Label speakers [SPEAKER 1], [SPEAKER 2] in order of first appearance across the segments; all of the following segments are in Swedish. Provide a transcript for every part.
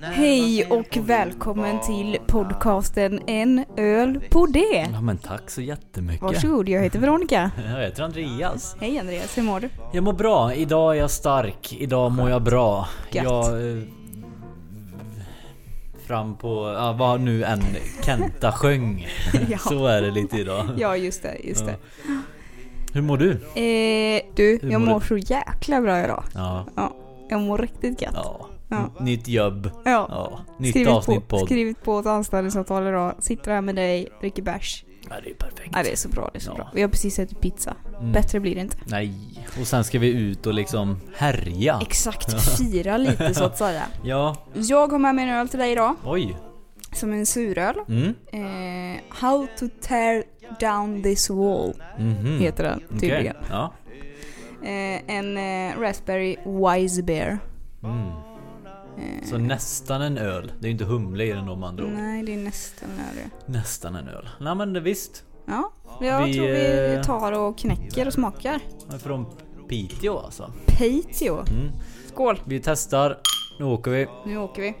[SPEAKER 1] Hej och välkommen till podcasten En öl på det.
[SPEAKER 2] Ja men tack så jättemycket.
[SPEAKER 1] Varsågod, jag heter Veronica.
[SPEAKER 2] Jag heter Andreas.
[SPEAKER 1] Hej Andreas, hur mår du?
[SPEAKER 2] Jag mår bra. Idag är jag stark. Idag mår jag bra.
[SPEAKER 1] Gött.
[SPEAKER 2] Jag... eh, Fram på, ja, vad nu än Kenta sjöng.
[SPEAKER 1] Ja,
[SPEAKER 2] Så är det lite idag.
[SPEAKER 1] ja just det, just det.
[SPEAKER 2] Hur mår du?
[SPEAKER 1] Eh, du,
[SPEAKER 2] Hur
[SPEAKER 1] jag
[SPEAKER 2] mår
[SPEAKER 1] mår
[SPEAKER 2] du?
[SPEAKER 1] så jäkla bra idag.
[SPEAKER 2] Ja.
[SPEAKER 1] Jag mår riktigt gött.
[SPEAKER 2] ja.
[SPEAKER 1] Ja.
[SPEAKER 2] Nytt jobb.
[SPEAKER 1] Ja.
[SPEAKER 2] Ja. Nytt
[SPEAKER 1] Skrivit
[SPEAKER 2] avsnitt
[SPEAKER 1] på,
[SPEAKER 2] podd.
[SPEAKER 1] skrivit på ett anställningsavtal idag, sitter här med dig, dricker bärs.
[SPEAKER 2] Ja, det är perfekt.
[SPEAKER 1] Ja, det är så bra, det är så
[SPEAKER 2] Ja.
[SPEAKER 1] bra. Vi har precis ätit pizza.
[SPEAKER 2] Mm.
[SPEAKER 1] Bättre blir det inte.
[SPEAKER 2] Nej. Och sen ska vi ut och liksom härja.
[SPEAKER 1] Exakt, fira lite så att säga.
[SPEAKER 2] Ja.
[SPEAKER 1] Jag har med mig en öl till dig idag,
[SPEAKER 2] Oj.
[SPEAKER 1] som en suröl.
[SPEAKER 2] Mm.
[SPEAKER 1] Eh, How to tear down this wall
[SPEAKER 2] Mhm.
[SPEAKER 1] heter den
[SPEAKER 2] Okej.
[SPEAKER 1] tydligen.
[SPEAKER 2] Ja.
[SPEAKER 1] Eh, en eh, Raspberry Wise Bear.
[SPEAKER 2] Mm.
[SPEAKER 1] Eh,
[SPEAKER 2] Så nästan en öl. Det är ju inte humle i den om andra ord.
[SPEAKER 1] nej, det är nästan öre.
[SPEAKER 2] Nästan en öl. Nej men det visst.
[SPEAKER 1] Ja, jag
[SPEAKER 2] Vi,
[SPEAKER 1] tror vi
[SPEAKER 2] eh,
[SPEAKER 1] tar och knäcker och smakar.
[SPEAKER 2] Den är Från Piteå alltså.
[SPEAKER 1] Piteå.
[SPEAKER 2] Mm.
[SPEAKER 1] Skål,
[SPEAKER 2] Vi testar. Nu åker vi.
[SPEAKER 1] nu åker vi.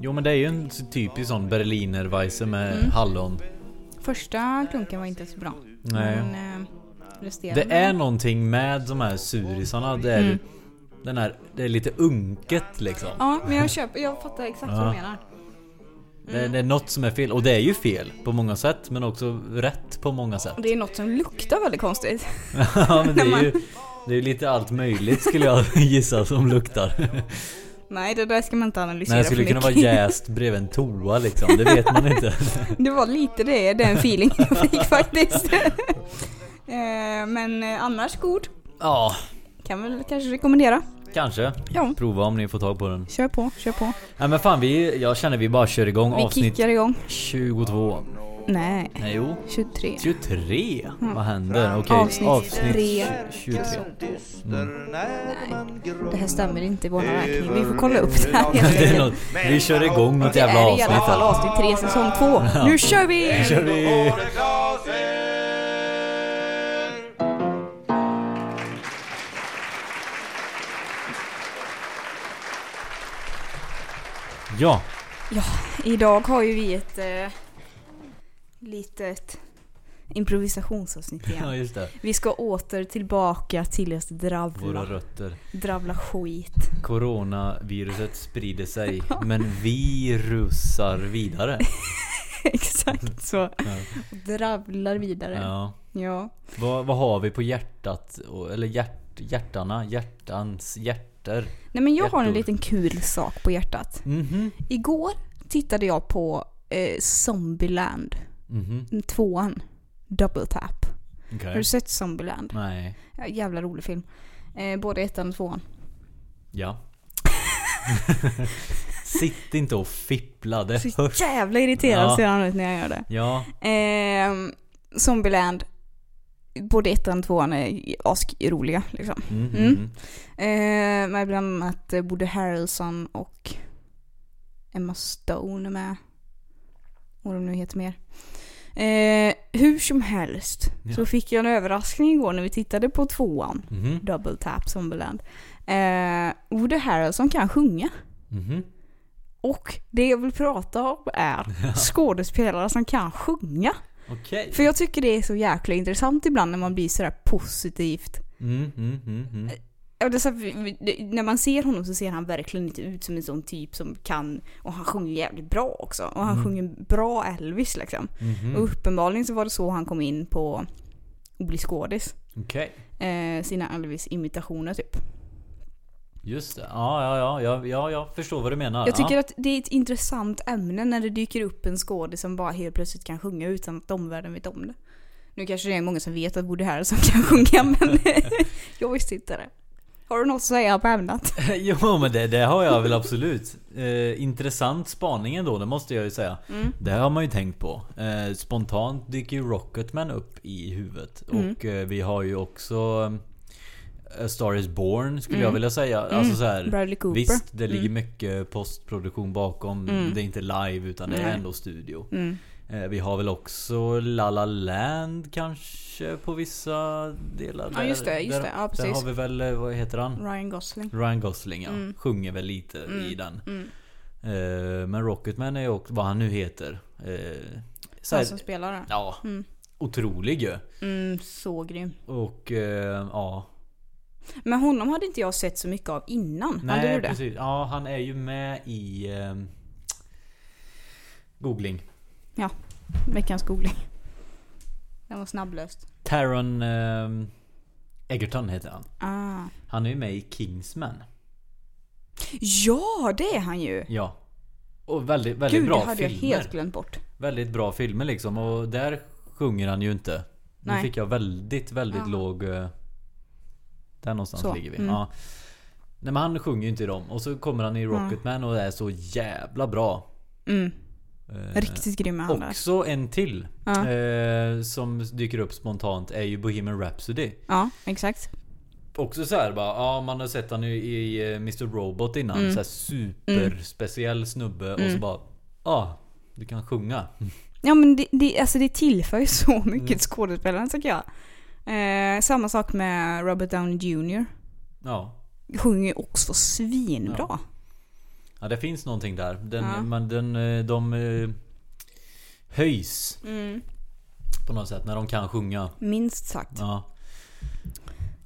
[SPEAKER 2] Jo men det är ju en så typisk sån berlinerweisse med
[SPEAKER 1] Mm.
[SPEAKER 2] hallon.
[SPEAKER 1] Första klunken var inte så bra.
[SPEAKER 2] Nej.
[SPEAKER 1] Men eh, resterande.
[SPEAKER 2] Det är någonting med de här surisarna. Det är,
[SPEAKER 1] Mm.
[SPEAKER 2] den här, det är lite unket liksom.
[SPEAKER 1] Ja, men jag köper, jag fattar exakt vad du menar. Mm.
[SPEAKER 2] Det, det är något som är fel. Och det är ju fel på många sätt men också rätt på många sätt.
[SPEAKER 1] Det är något som luktar väldigt konstigt.
[SPEAKER 2] ja, men det
[SPEAKER 1] När
[SPEAKER 2] är
[SPEAKER 1] man-
[SPEAKER 2] ju det är ju lite allt möjligt skulle jag gissa som luktar.
[SPEAKER 1] Nej, det där ska man inte analysera
[SPEAKER 2] Nej, det skulle
[SPEAKER 1] för
[SPEAKER 2] kunna vara
[SPEAKER 1] mycket.
[SPEAKER 2] jäst bredvid en toa liksom. Det vet man inte.
[SPEAKER 1] Det var lite det, den feelingen jag fick faktiskt. Eh, Men eh, annars god.
[SPEAKER 2] Ja,
[SPEAKER 1] Kan väl kanske rekommendera.
[SPEAKER 2] kanske.
[SPEAKER 1] Ja.
[SPEAKER 2] Prova om ni får tag på den.
[SPEAKER 1] Kör på, kör på.
[SPEAKER 2] Nej men fan vi, jag känner vi bara kör igång
[SPEAKER 1] Vi
[SPEAKER 2] avsnitt
[SPEAKER 1] kickar igång.
[SPEAKER 2] 22.
[SPEAKER 1] Nej,
[SPEAKER 2] Nej jo.
[SPEAKER 1] 23.
[SPEAKER 2] 23? Vad händer? Okej,
[SPEAKER 1] Mm. Avsnitt tre.
[SPEAKER 2] 23.
[SPEAKER 1] Det här stämmer inte i vår räkning. Vi får kolla upp det här helt
[SPEAKER 2] Det är något,
[SPEAKER 1] enkelt.
[SPEAKER 2] vi kör igång något
[SPEAKER 1] Det
[SPEAKER 2] jävla
[SPEAKER 1] är i
[SPEAKER 2] avsnitt.
[SPEAKER 1] alla fall
[SPEAKER 2] här.
[SPEAKER 1] avsnitt 3 säsong 2. Nu kör vi!
[SPEAKER 2] Kör vi! Ja,
[SPEAKER 1] Idag har ju vi ett eh, litet improvisationsavsnitt
[SPEAKER 2] ja
[SPEAKER 1] igen.
[SPEAKER 2] just det.
[SPEAKER 1] Vi ska åter tillbaka till att
[SPEAKER 2] Våra
[SPEAKER 1] dravla,
[SPEAKER 2] rötter.
[SPEAKER 1] dravla skit.
[SPEAKER 2] Coronaviruset sprider sig, men vi rusar vidare.
[SPEAKER 1] Exakt så. Och dravlar vidare. Ja.
[SPEAKER 2] Ja. Vad, vad har vi på hjärtat? Och- Eller hjärt, hjärtarna? Hjärtans hjärter?
[SPEAKER 1] Nej men jag har en
[SPEAKER 2] Hjärtor.
[SPEAKER 1] liten kul sak på hjärtat.
[SPEAKER 2] Mhm.
[SPEAKER 1] Igår tittade jag på eh, Zombieland,
[SPEAKER 2] Mhm.
[SPEAKER 1] tvåan. Double Tap.
[SPEAKER 2] Okej.
[SPEAKER 1] Har du sett Zombieland?
[SPEAKER 2] Nej.
[SPEAKER 1] Ja, jävla rolig film. Eh, både ettan och tvåan.
[SPEAKER 2] Ja. Sitt inte och fippla, det
[SPEAKER 1] Så
[SPEAKER 2] hörs.
[SPEAKER 1] jävla irriterad
[SPEAKER 2] Ja.
[SPEAKER 1] ser han ut när jag gör det.
[SPEAKER 2] Ja.
[SPEAKER 1] Eh, Zombieland. Både ettan och tvåan är asroliga liksom.
[SPEAKER 2] Mhm.
[SPEAKER 1] Mm. Eh, med bland annat eh, både Harrelson och Emma Stone är med. Vad de nu heter mer. Eh, hur som helst
[SPEAKER 2] Ja.
[SPEAKER 1] så fick jag en överraskning igår när vi tittade på tvåan.
[SPEAKER 2] Mhm.
[SPEAKER 1] Double Tap Zombieland. Eh, Woody Harrelson kan sjunga.
[SPEAKER 2] Mhm.
[SPEAKER 1] Och det jag vill prata om är skådespelare som kan sjunga.
[SPEAKER 2] Okej.
[SPEAKER 1] För jag tycker det är så jäkla intressant ibland när man blir sådär positivt
[SPEAKER 2] Mm, mm, mm, mm.
[SPEAKER 1] Ja, det är så här, vi- vi- det- när man ser honom så ser han verkligen inte ut som en sån typ som kan, och han sjunger jävligt bra också. Och han
[SPEAKER 2] Mm.
[SPEAKER 1] sjunger bra Elvis liksom.
[SPEAKER 2] Mhm.
[SPEAKER 1] Och uppenbarligen så var det så han kom in på att bli skådis.
[SPEAKER 2] Okej.
[SPEAKER 1] Eh, sina Elvis-imitationer typ.
[SPEAKER 2] Just det. Ja, ja, ja, ja, ja, jag förstår vad du menar.
[SPEAKER 1] Jag tycker
[SPEAKER 2] ja.
[SPEAKER 1] att det är ett intressant ämne när det dyker upp en skådis som bara helt plötsligt kan sjunga utan att omvärlden vet om det. Nu kanske det är många som vet att Woody Harrelson kan sjunga men jag visste inte det. Har du något att säga på ämnet?
[SPEAKER 2] Jo men det, det har jag väl absolut. Eh, intressant spaning ändå, det måste jag ju säga. Det har man ju tänkt på. Eh, spontant dyker ju Rocketman upp i huvudet.
[SPEAKER 1] Mm.
[SPEAKER 2] Och eh, vi har ju också eh, A Star Is Born skulle jag vilja säga. Alltså så här,
[SPEAKER 1] Mm. Bradley Cooper. Mm.
[SPEAKER 2] Visst, det ligger mycket postproduktion bakom. Det är inte live utan det
[SPEAKER 1] Nej.
[SPEAKER 2] är ändå studio.
[SPEAKER 1] Mm.
[SPEAKER 2] Eh, vi har väl också La La Land kanske på vissa delar.
[SPEAKER 1] Ja, just det, just
[SPEAKER 2] där,
[SPEAKER 1] det. Ja,
[SPEAKER 2] Där
[SPEAKER 1] precis.
[SPEAKER 2] har vi väl, eh, vad heter han?
[SPEAKER 1] Ryan Mm. Gosling. Mm,
[SPEAKER 2] Ryan Gosling ja, sjunger väl lite i den. Eh, Men Rocketman är ju också, vad han nu heter. Eh, så
[SPEAKER 1] Han
[SPEAKER 2] här,
[SPEAKER 1] som spelar den.
[SPEAKER 2] ja,
[SPEAKER 1] Alltså. Mm.
[SPEAKER 2] otrolig ju.
[SPEAKER 1] Mm, så grym.
[SPEAKER 2] Och eh, ja.
[SPEAKER 1] Men honom hade inte jag sett så mycket av innan. hade
[SPEAKER 2] Nej
[SPEAKER 1] du det?
[SPEAKER 2] precis. Ja han är ju med i eh, Googling.
[SPEAKER 1] Veckans googling. Den var snabblöst.
[SPEAKER 2] Taron eh, Egerton heter han.
[SPEAKER 1] Ah.
[SPEAKER 2] Han är ju med i Kingsman.
[SPEAKER 1] Ja, det är han ju!
[SPEAKER 2] Ja. Och väldigt, väldigt
[SPEAKER 1] Gud, det
[SPEAKER 2] bra
[SPEAKER 1] hade jag
[SPEAKER 2] filmer.
[SPEAKER 1] helt glömt bort.
[SPEAKER 2] Väldigt bra filmer liksom och där sjunger han ju inte. Nu
[SPEAKER 1] Nej.
[SPEAKER 2] fick jag väldigt, väldigt
[SPEAKER 1] Ja.
[SPEAKER 2] låg... eh, Där någonstans
[SPEAKER 1] Så,
[SPEAKER 2] ligger vi.
[SPEAKER 1] mm.
[SPEAKER 2] Ja. Nej men han sjunger ju inte i dem. Och så kommer han i Rocketman och är så jävla bra.
[SPEAKER 1] Mm.
[SPEAKER 2] Eh,
[SPEAKER 1] Riktigt grym är han där.
[SPEAKER 2] Också en till
[SPEAKER 1] Ja.
[SPEAKER 2] eh, som dyker upp spontant är ju Bohemian Rhapsody.
[SPEAKER 1] Ja, exakt.
[SPEAKER 2] Också så här bara, ja man har sett han ju i eh, Mr Robot innan.
[SPEAKER 1] Mm.
[SPEAKER 2] Så här superspeciell snubbe och så bara, ja ah, du kan sjunga.
[SPEAKER 1] Ja men det, det, alltså det tillför ju
[SPEAKER 2] Mm.
[SPEAKER 1] så mycket till skådespelaren tycker jag. Eh, samma sak med Robert Downey Jr.
[SPEAKER 2] Ja.
[SPEAKER 1] Sjunger ju också svinbra.
[SPEAKER 2] Ja det finns någonting där. Den,
[SPEAKER 1] Ja.
[SPEAKER 2] man, den, eh, de eh, höjs
[SPEAKER 1] Mm.
[SPEAKER 2] på något sätt när de kan sjunga.
[SPEAKER 1] Minst sagt. Ja,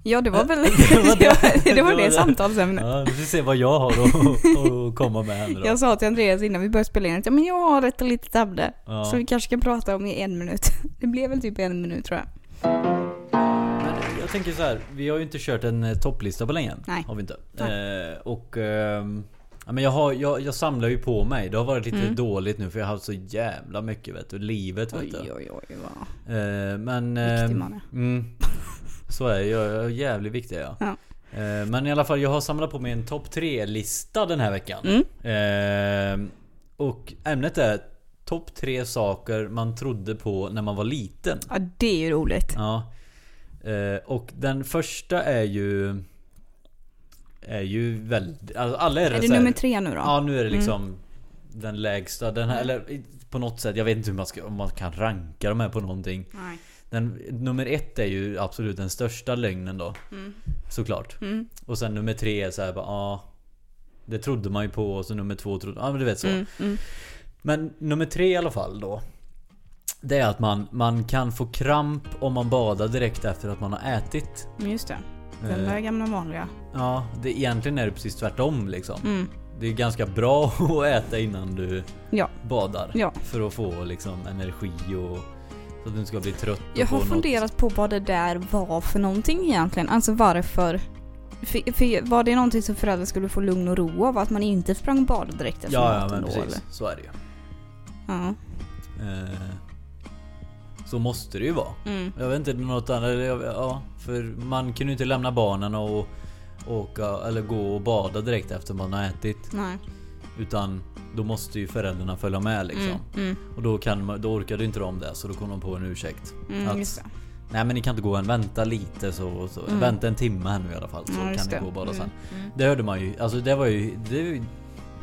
[SPEAKER 2] Ja.
[SPEAKER 1] det var väl
[SPEAKER 2] det var
[SPEAKER 1] det, var, det,
[SPEAKER 2] det var det.
[SPEAKER 1] samtalsämnet.
[SPEAKER 2] ja, vi får se vad jag har att, att komma med här nu då.
[SPEAKER 1] Jag sa till Andreas innan vi började spela in att ja, men jag har ett litet ämne
[SPEAKER 2] Ja.
[SPEAKER 1] som vi kanske kan prata om i en minut. Det blev väl typ en minut tror jag.
[SPEAKER 2] Men jag tänker så här, vi har ju inte kört en eh, topplista på länge.
[SPEAKER 1] Nej.
[SPEAKER 2] Har vi inte. Eh, och ehm, ja, men jag, har, jag, jag samlar ju på mig. Det har varit
[SPEAKER 1] Mm.
[SPEAKER 2] lite dåligt nu för jag har haft så jävla mycket vet du. Livet vet
[SPEAKER 1] Oj
[SPEAKER 2] du.
[SPEAKER 1] oj oj. vad-
[SPEAKER 2] Eh, men...
[SPEAKER 1] Viktig
[SPEAKER 2] eh,
[SPEAKER 1] man är.
[SPEAKER 2] mm, Så är jag, jag är jävligt viktig ja.
[SPEAKER 1] Ja.
[SPEAKER 2] Eh, Men i alla fall, jag har samlat på mig en topp 3-lista den här veckan.
[SPEAKER 1] Mm.
[SPEAKER 2] Eh, Och ämnet är topp 3 saker man trodde på när man var liten.
[SPEAKER 1] Ja det är ju roligt.
[SPEAKER 2] Ja. Eh, Och den första är ju... Är ju väldigt... Alltså alla är,
[SPEAKER 1] Är det
[SPEAKER 2] så här-
[SPEAKER 1] nummer tre nu då? Mm.
[SPEAKER 2] Ja, nu är det liksom den lägsta. Den här, eller i- på något sätt. Jag vet inte hur man, ska, om man kan ranka de här på någonting.
[SPEAKER 1] Nej.
[SPEAKER 2] Den, nummer ett är ju absolut den största lögnen då.
[SPEAKER 1] Mm.
[SPEAKER 2] Såklart. Och sen nummer tre är så här bara, ja. Det trodde man ju på och så nummer två trodde Ja men du vet så.
[SPEAKER 1] Mm.
[SPEAKER 2] Men nummer tre i alla fall då. Det är att man, man kan få kramp om man badar direkt efter att man har ätit.
[SPEAKER 1] Men Just det. Den
[SPEAKER 2] Eh.
[SPEAKER 1] där gamla vanliga.
[SPEAKER 2] Ja, det, egentligen är det precis tvärtom liksom.
[SPEAKER 1] Mm.
[SPEAKER 2] Det är ganska bra att äta innan du
[SPEAKER 1] Ja.
[SPEAKER 2] badar.
[SPEAKER 1] Ja.
[SPEAKER 2] För att få liksom energi och så att du inte ska bli trött. och
[SPEAKER 1] Jag har
[SPEAKER 2] få något-
[SPEAKER 1] funderat på vad det där var för någonting egentligen. Alltså varför? För, för var det någonting som föräldrar skulle få lugn och ro av? Att man inte sprang bad direkt efter
[SPEAKER 2] Ja, ja
[SPEAKER 1] maten
[SPEAKER 2] men
[SPEAKER 1] då
[SPEAKER 2] precis.
[SPEAKER 1] eller?
[SPEAKER 2] Så är det ju.
[SPEAKER 1] Ja.
[SPEAKER 2] Eh, Så måste det ju vara.
[SPEAKER 1] Mm.
[SPEAKER 2] Jag vet inte något annat. eller jag- Ja, för man kunde ju inte lämna barnen och åka eller gå och bada direkt efter man har ätit.
[SPEAKER 1] Nej.
[SPEAKER 2] Utan då måste ju föräldrarna följa med liksom.
[SPEAKER 1] Mm. Mm.
[SPEAKER 2] Och då, kan, man- då orkade inte de det så då kom de på en ursäkt.
[SPEAKER 1] Mm,
[SPEAKER 2] att,
[SPEAKER 1] just det. Mm.
[SPEAKER 2] Nej men ni kan inte gå än, vänta lite så. och så. Vänta en timme här nu i alla fall så
[SPEAKER 1] Ja,
[SPEAKER 2] kan
[SPEAKER 1] just
[SPEAKER 2] ni
[SPEAKER 1] det.
[SPEAKER 2] gå och bada
[SPEAKER 1] Mm,
[SPEAKER 2] sen. Det hörde man ju, alltså det var ju det, var ju-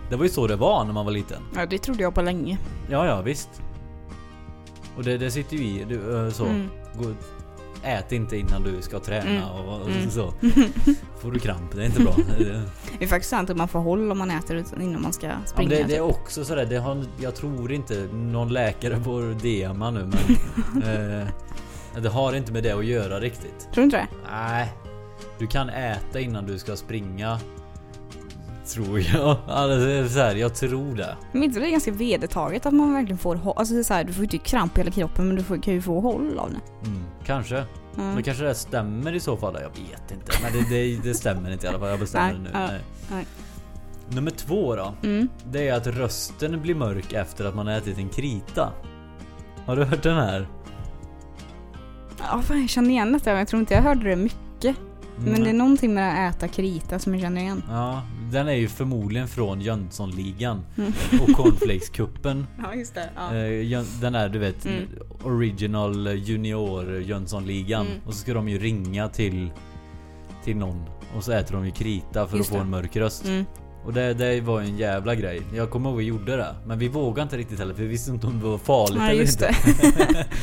[SPEAKER 2] det var ju så det var när man var liten.
[SPEAKER 1] Ja det trodde jag på länge.
[SPEAKER 2] Ja, ja visst. Och det, det sitter ju i. Du, eh, så.
[SPEAKER 1] Mm.
[SPEAKER 2] Gå, ät inte innan du ska träna
[SPEAKER 1] Mm.
[SPEAKER 2] och, och
[SPEAKER 1] Mm.
[SPEAKER 2] så. Får du kramp, det är inte bra. Eh, Det-
[SPEAKER 1] Det är faktiskt sant att man får håll om man äter utan- innan man ska
[SPEAKER 2] ja, men
[SPEAKER 1] springa.
[SPEAKER 2] det, det är
[SPEAKER 1] typ.
[SPEAKER 2] också sådär, det har, jag tror inte någon läkare får DMa nu men eh, Det har inte med det att göra riktigt.
[SPEAKER 1] Tror du inte det?
[SPEAKER 2] Nej. Du kan äta innan du ska springa. Tror jag. Alltså, det är så här, jag tror det.
[SPEAKER 1] Men inte det är ganska vedertaget att man verkligen får håll? Alltså det är så här, du får ju inte kramp i hela kroppen men du får, kan ju få håll av det.
[SPEAKER 2] Mm, kanske.
[SPEAKER 1] Mm.
[SPEAKER 2] Men kanske det stämmer i så fall. Jag vet inte. Men det, det, det stämmer inte i alla fall. Jag bestämmer
[SPEAKER 1] Nej,
[SPEAKER 2] det nu.
[SPEAKER 1] ja, nej.
[SPEAKER 2] Nummer två då.
[SPEAKER 1] Mm.
[SPEAKER 2] Det är att rösten blir mörk efter att man har ätit en krita. Har du hört den här?
[SPEAKER 1] Ja fan jag känner igen detta men jag tror inte jag hörde det mycket. Men det är någonting med att äta krita som jag känner igen.
[SPEAKER 2] Mm. Ja, den är ju förmodligen från Jönssonligan
[SPEAKER 1] Mm.
[SPEAKER 2] och Cornflakescupen.
[SPEAKER 1] Ja just det.
[SPEAKER 2] Eh, Jön- Den är du vet
[SPEAKER 1] Mm.
[SPEAKER 2] original junior Jönssonligan.
[SPEAKER 1] Mm.
[SPEAKER 2] Och så ska de ju ringa till, till någon. Och så äter de ju krita för
[SPEAKER 1] Just
[SPEAKER 2] att få
[SPEAKER 1] det.
[SPEAKER 2] en mörk röst.
[SPEAKER 1] Mm.
[SPEAKER 2] Och det, det var ju en jävla grej. Jag kommer ihåg vi gjorde det. Men vi vågade inte riktigt heller för vi visste inte om det var farligt
[SPEAKER 1] Ja
[SPEAKER 2] eller
[SPEAKER 1] just
[SPEAKER 2] inte.
[SPEAKER 1] det.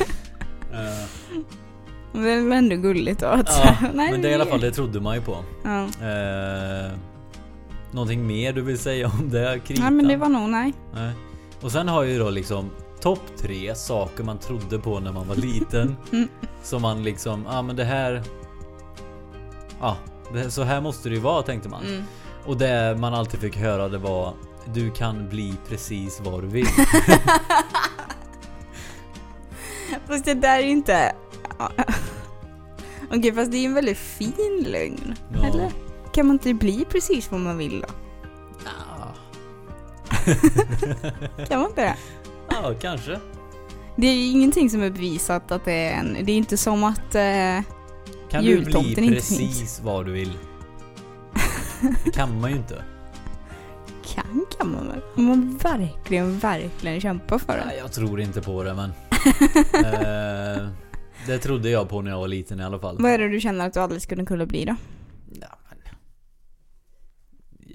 [SPEAKER 2] Eh,
[SPEAKER 1] Men det är ändå gulligt då. att-
[SPEAKER 2] ja,
[SPEAKER 1] Nej,
[SPEAKER 2] men det i alla fall det trodde man ju på.
[SPEAKER 1] Ja.
[SPEAKER 2] Eh, Någonting mer du vill säga om det? Kritan?
[SPEAKER 1] Nej men det var nog nej.
[SPEAKER 2] Nej. Och sen har jag ju då liksom topp tre saker man trodde på när man var liten.
[SPEAKER 1] Mm.
[SPEAKER 2] som man liksom, ja ah, men det här... Ja, det här- så här måste det ju vara tänkte man.
[SPEAKER 1] Mm.
[SPEAKER 2] Och det man alltid fick höra det var Du kan bli precis vad du vill.
[SPEAKER 1] Fast det där är ju inte... Ja. Okej fast det är ju en väldigt fin lögn.
[SPEAKER 2] Ja.
[SPEAKER 1] Eller? Kan man inte bli precis vad man vill då?
[SPEAKER 2] Ah.
[SPEAKER 1] Kan man inte det?
[SPEAKER 2] Ja, kanske.
[SPEAKER 1] Det är ju ingenting som är bevisat att det är en... Det är inte som att... Eh,
[SPEAKER 2] Kan du bli
[SPEAKER 1] Jultomten inte
[SPEAKER 2] precis
[SPEAKER 1] finns.
[SPEAKER 2] vad du vill? Det kan man ju inte.
[SPEAKER 1] kan kan man väl? Om man verkligen, verkligen kämpar för det.
[SPEAKER 2] Nej, jag tror inte på det men... eh, det trodde jag på när jag var liten i alla fall.
[SPEAKER 1] Vad är det du känner att du aldrig skulle kunna bli då?
[SPEAKER 2] Ja, men...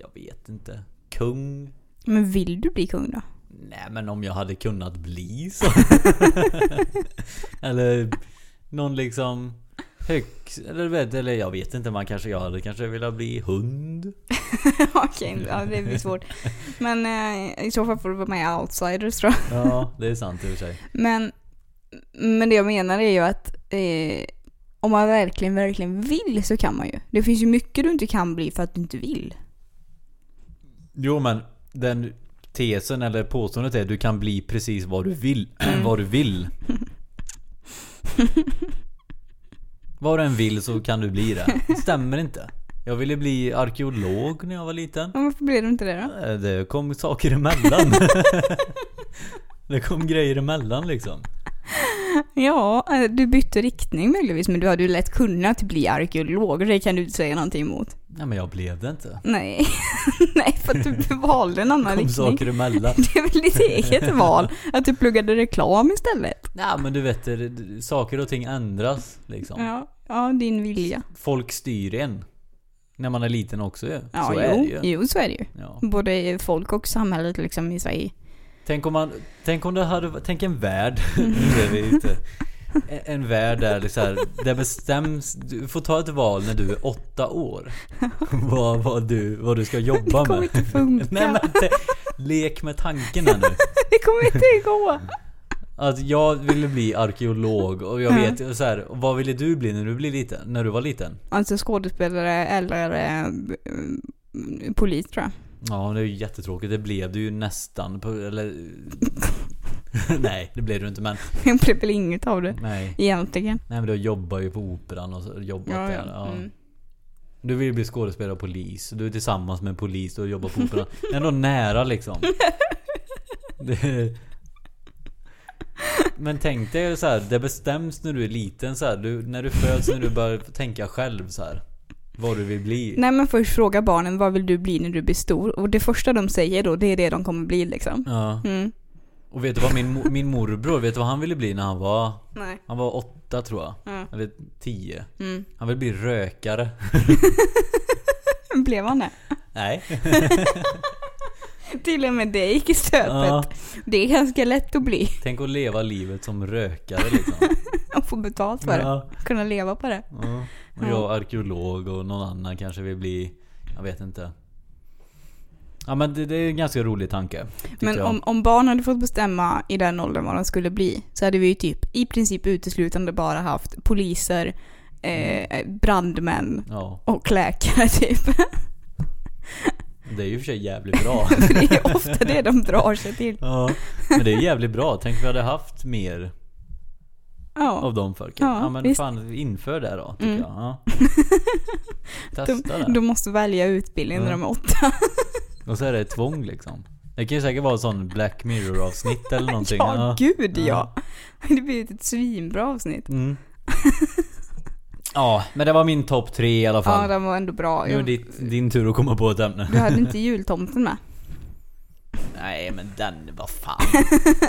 [SPEAKER 2] Jag vet inte. Kung?
[SPEAKER 1] Men vill du bli kung då?
[SPEAKER 2] Nej men om jag hade kunnat bli så. eller någon liksom hög... Eller, du vet, eller jag vet inte, man kanske, jag hade kanske velat bli hund.
[SPEAKER 1] Okej, ja, det blir svårt. Men eh, i så fall får du vara med i Outsiders tror jag.
[SPEAKER 2] Ja, det är sant i och för sig.
[SPEAKER 1] Men, men det jag menar är ju att eh, om man verkligen, verkligen vill så kan man ju. Det finns ju mycket du inte kan bli för att du inte vill.
[SPEAKER 2] Jo men den tesen eller påståendet är du kan bli precis vad du vill. vad du vill. vad du än vill så kan du bli det. Det Stämmer inte. Jag ville bli arkeolog när jag var liten.
[SPEAKER 1] Men varför blev du inte det då?
[SPEAKER 2] Eh, Det kom saker emellan. det kom grejer emellan liksom.
[SPEAKER 1] Ja, eh, du bytte riktning möjligtvis men du hade ju lätt kunnat bli arkeolog och det kan du inte säga någonting emot.
[SPEAKER 2] Nej men jag blev det inte.
[SPEAKER 1] Nej, Nej för att du valde en
[SPEAKER 2] Det
[SPEAKER 1] annan
[SPEAKER 2] kom
[SPEAKER 1] riktning.
[SPEAKER 2] saker emellan.
[SPEAKER 1] Det är väl ditt eget val att du pluggade reklam istället.
[SPEAKER 2] Nej men du vet, det- det- saker och ting ändras liksom.
[SPEAKER 1] Ja, ja din vilja.
[SPEAKER 2] Folk styr en. När man är liten också ju.
[SPEAKER 1] Ja,
[SPEAKER 2] så
[SPEAKER 1] jo,
[SPEAKER 2] är det ju.
[SPEAKER 1] jo, så är det ju.
[SPEAKER 2] Ja.
[SPEAKER 1] Både folk och samhället liksom i sig.
[SPEAKER 2] Tänk om man, tänk om det hade, tänk en värld. nu är vi ute. En- En värld där det, så här, det bestäms, du får ta ett val när du är åtta år. Vad, vad, du, vad du ska
[SPEAKER 1] Det
[SPEAKER 2] jobba
[SPEAKER 1] kommer
[SPEAKER 2] med.
[SPEAKER 1] inte funka.
[SPEAKER 2] Nej men te, lek med tanken här nu.
[SPEAKER 1] Det kommer inte gå.
[SPEAKER 2] Att jag ville bli arkeolog och jag
[SPEAKER 1] Ja.
[SPEAKER 2] vet ju så här, vad ville du bli när du blev liten? När du var liten?
[SPEAKER 1] Alltså skådespelare eller eh, mm, polis tror jag.
[SPEAKER 2] Ja det är ju jättetråkigt, det blev du ju nästan på, eller... Nej det blev du inte men,
[SPEAKER 1] Jag blev väl inget av det
[SPEAKER 2] nej.
[SPEAKER 1] egentligen.
[SPEAKER 2] Nej men du jobbar ju på operan och så, jobbat
[SPEAKER 1] Ja,
[SPEAKER 2] där.
[SPEAKER 1] ja.
[SPEAKER 2] Ja.
[SPEAKER 1] Mm.
[SPEAKER 2] Du vill ju bli skådespelare och polis, du är tillsammans med en polis och jobbar på operan. Det är ändå nära liksom. Det... Men tänk dig så här, det bestäms när du är liten så här. Du, när du föds, när du börjar tänka själv så här. Vad du vill bli.
[SPEAKER 1] Nej men först fråga barnen vad vill du bli när du blir stor? Och det första de säger då det är det de kommer bli liksom.
[SPEAKER 2] Ja.
[SPEAKER 1] Mm.
[SPEAKER 2] Och vet du vad min, mo- min morbror, vet du vad han ville bli när han var?
[SPEAKER 1] Nej.
[SPEAKER 2] Han var åtta tror jag.
[SPEAKER 1] Ja.
[SPEAKER 2] Eller tio.
[SPEAKER 1] Mm.
[SPEAKER 2] Han ville bli rökare.
[SPEAKER 1] Blev han det?
[SPEAKER 2] Nej.
[SPEAKER 1] Till och med det gick i stöpet.
[SPEAKER 2] Ja.
[SPEAKER 1] Det är ganska lätt att bli.
[SPEAKER 2] Tänk att leva livet som rökare liksom.
[SPEAKER 1] Att få betalt för det.
[SPEAKER 2] Ja.
[SPEAKER 1] Kunna leva på det.
[SPEAKER 2] Ja. Och jag är arkeolog och någon annan kanske vill bli... Jag vet inte. Ja men det, det är en ganska rolig tanke. tycker
[SPEAKER 1] Men
[SPEAKER 2] jag.
[SPEAKER 1] om, om barn hade fått bestämma i den åldern vad de skulle bli så hade vi ju typ i princip uteslutande bara haft poliser,
[SPEAKER 2] Mm.
[SPEAKER 1] eh, brandmän
[SPEAKER 2] Ja,
[SPEAKER 1] och läkare typ.
[SPEAKER 2] det är ju i och för sig jävligt bra.
[SPEAKER 1] För det är ofta det de drar sig till.
[SPEAKER 2] ja. Men det är jävligt bra. Tänk vi hade haft mer
[SPEAKER 1] Ja.
[SPEAKER 2] av de folken. Ja,
[SPEAKER 1] Ja,
[SPEAKER 2] men
[SPEAKER 1] visst.
[SPEAKER 2] fan inför det då tycker
[SPEAKER 1] Mm.
[SPEAKER 2] jag. Ja.
[SPEAKER 1] De,
[SPEAKER 2] Testa det.
[SPEAKER 1] de måste välja utbildning när
[SPEAKER 2] Mm.
[SPEAKER 1] de är åtta.
[SPEAKER 2] Och så är det ett tvång liksom. Det kan ju säkert vara en sån Black Mirror avsnitt eller någonting.
[SPEAKER 1] Ja, gud ja.
[SPEAKER 2] Ja.
[SPEAKER 1] Det blir ju ett svinbra avsnitt.
[SPEAKER 2] Mm. ja men det var min topp tre i alla
[SPEAKER 1] Ja,
[SPEAKER 2] fall.
[SPEAKER 1] den var ändå bra.
[SPEAKER 2] nu är det
[SPEAKER 1] Jag,
[SPEAKER 2] ditt- din tur att komma på ett ämne.
[SPEAKER 1] du hade inte jultomten med?
[SPEAKER 2] Nej men den, vad fan.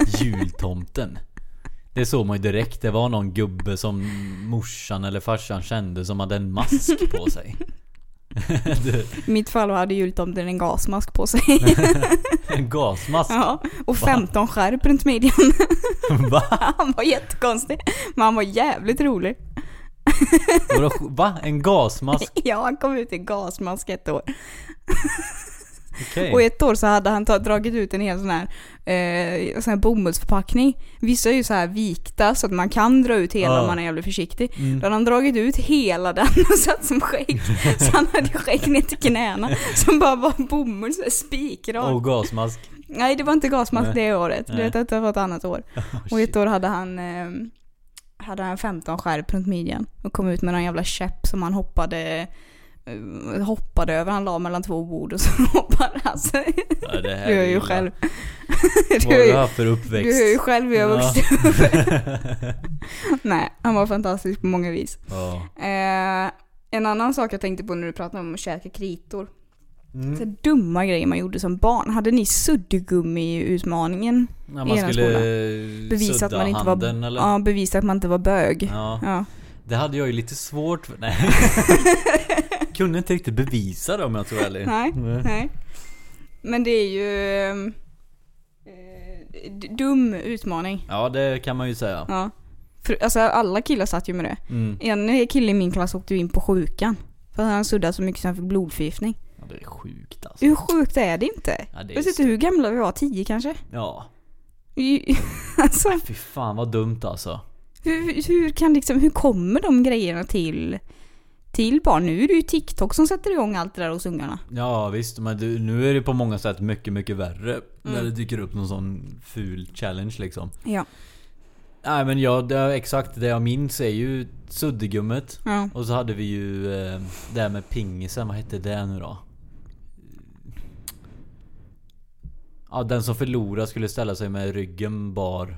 [SPEAKER 2] Jultomten. Det såg man ju direkt. Det var någon gubbe som morsan eller farsan kände som hade en mask på sig.
[SPEAKER 1] I mitt fall hade jultomten en gasmask på sig.
[SPEAKER 2] En gasmask.
[SPEAKER 1] Ja, och 15 skärp runt midjan.
[SPEAKER 2] Va?
[SPEAKER 1] Han var jättekonstig. Men han var jävligt rolig.
[SPEAKER 2] Vadå, Va? En gasmask?
[SPEAKER 1] Ja, han kom ut i gasmask ett år.
[SPEAKER 2] Okej.
[SPEAKER 1] Och ett år så hade han ta, dragit ut en hel sån här, eh, sån här bomullsförpackning. Vissa är ju så här vikta så att man kan dra ut hela
[SPEAKER 2] Ja.
[SPEAKER 1] om man är jävligt försiktig.
[SPEAKER 2] Mm.
[SPEAKER 1] Då hade han dragit ut hela den och satt som skägg. Så han hade skägg ner till knäna som bara var bomull, så här spikrak.
[SPEAKER 2] Och gasmask.
[SPEAKER 1] Nej det var inte gasmask
[SPEAKER 2] Oh. Nej.
[SPEAKER 1] det året,
[SPEAKER 2] Nej.
[SPEAKER 1] det, det var ett annat år. Och
[SPEAKER 2] Oh, Shit.
[SPEAKER 1] ett år hade han, eh, hade han 15 skärp runt midjan och kom ut med någon jävla käpp som han hoppade eh, hoppade över, han la mellan två bord och så hoppade han sig.
[SPEAKER 2] Ja, det här
[SPEAKER 1] Du är ju
[SPEAKER 2] illa.
[SPEAKER 1] själv.
[SPEAKER 2] Vad
[SPEAKER 1] Du
[SPEAKER 2] har
[SPEAKER 1] är
[SPEAKER 2] du
[SPEAKER 1] ju,
[SPEAKER 2] haft för uppväxt?
[SPEAKER 1] du är ju själv hur jag vuxit
[SPEAKER 2] ja.
[SPEAKER 1] Nej, han var fantastisk på många vis.
[SPEAKER 2] ja.
[SPEAKER 1] Eh, en annan sak jag tänkte på när du pratade om att käka kritor.
[SPEAKER 2] Mm.
[SPEAKER 1] Så dumma grejer man gjorde som barn. Hade ni suddgummi-utmaningen?
[SPEAKER 2] När
[SPEAKER 1] i
[SPEAKER 2] man
[SPEAKER 1] eran
[SPEAKER 2] skulle
[SPEAKER 1] skola.
[SPEAKER 2] bevisa
[SPEAKER 1] Bevisa att man inte var...
[SPEAKER 2] handen eller?
[SPEAKER 1] Ja, bevisa att man inte var bög.
[SPEAKER 2] Ja.
[SPEAKER 1] Ja.
[SPEAKER 2] Det hade jag ju lite svårt för. Nej. Kunde inte riktigt bevisa det om jag ska vara ärlig.
[SPEAKER 1] Nej. Nej. Men det är ju... ehm, eh, d- dum utmaning.
[SPEAKER 2] Ja, det kan man ju säga.
[SPEAKER 1] Ja. För, alltså alla killar satt ju med det.
[SPEAKER 2] Mm.
[SPEAKER 1] En kille i min klass åkte ju in på sjukan. För att han suddade så mycket så han fick blodförgiftning.
[SPEAKER 2] Ja, det är sjukt alltså.
[SPEAKER 1] Hur sjukt är det inte?
[SPEAKER 2] Ja, det
[SPEAKER 1] Jag vet
[SPEAKER 2] är...
[SPEAKER 1] inte hur gamla vi var, tio kanske?
[SPEAKER 2] ja.
[SPEAKER 1] I- Alltså,
[SPEAKER 2] Fy fan vad dumt alltså.
[SPEAKER 1] hur, hur kan liksom, hur kommer de grejerna till, till barn? Nu är det ju TikTok som sätter igång allt det där hos ungarna.
[SPEAKER 2] Ja visst, men du, nu är det på många sätt mycket, mycket värre.
[SPEAKER 1] Mm.
[SPEAKER 2] När det dyker upp någon sån ful challenge liksom.
[SPEAKER 1] Ja.
[SPEAKER 2] Nej men ja, det är exakt det jag minns är ju suddigummet.
[SPEAKER 1] Ja.
[SPEAKER 2] Och så hade vi ju eh, det här med pingisen, vad hette det nu då? Ja, den som förlorade skulle ställa sig med ryggen bar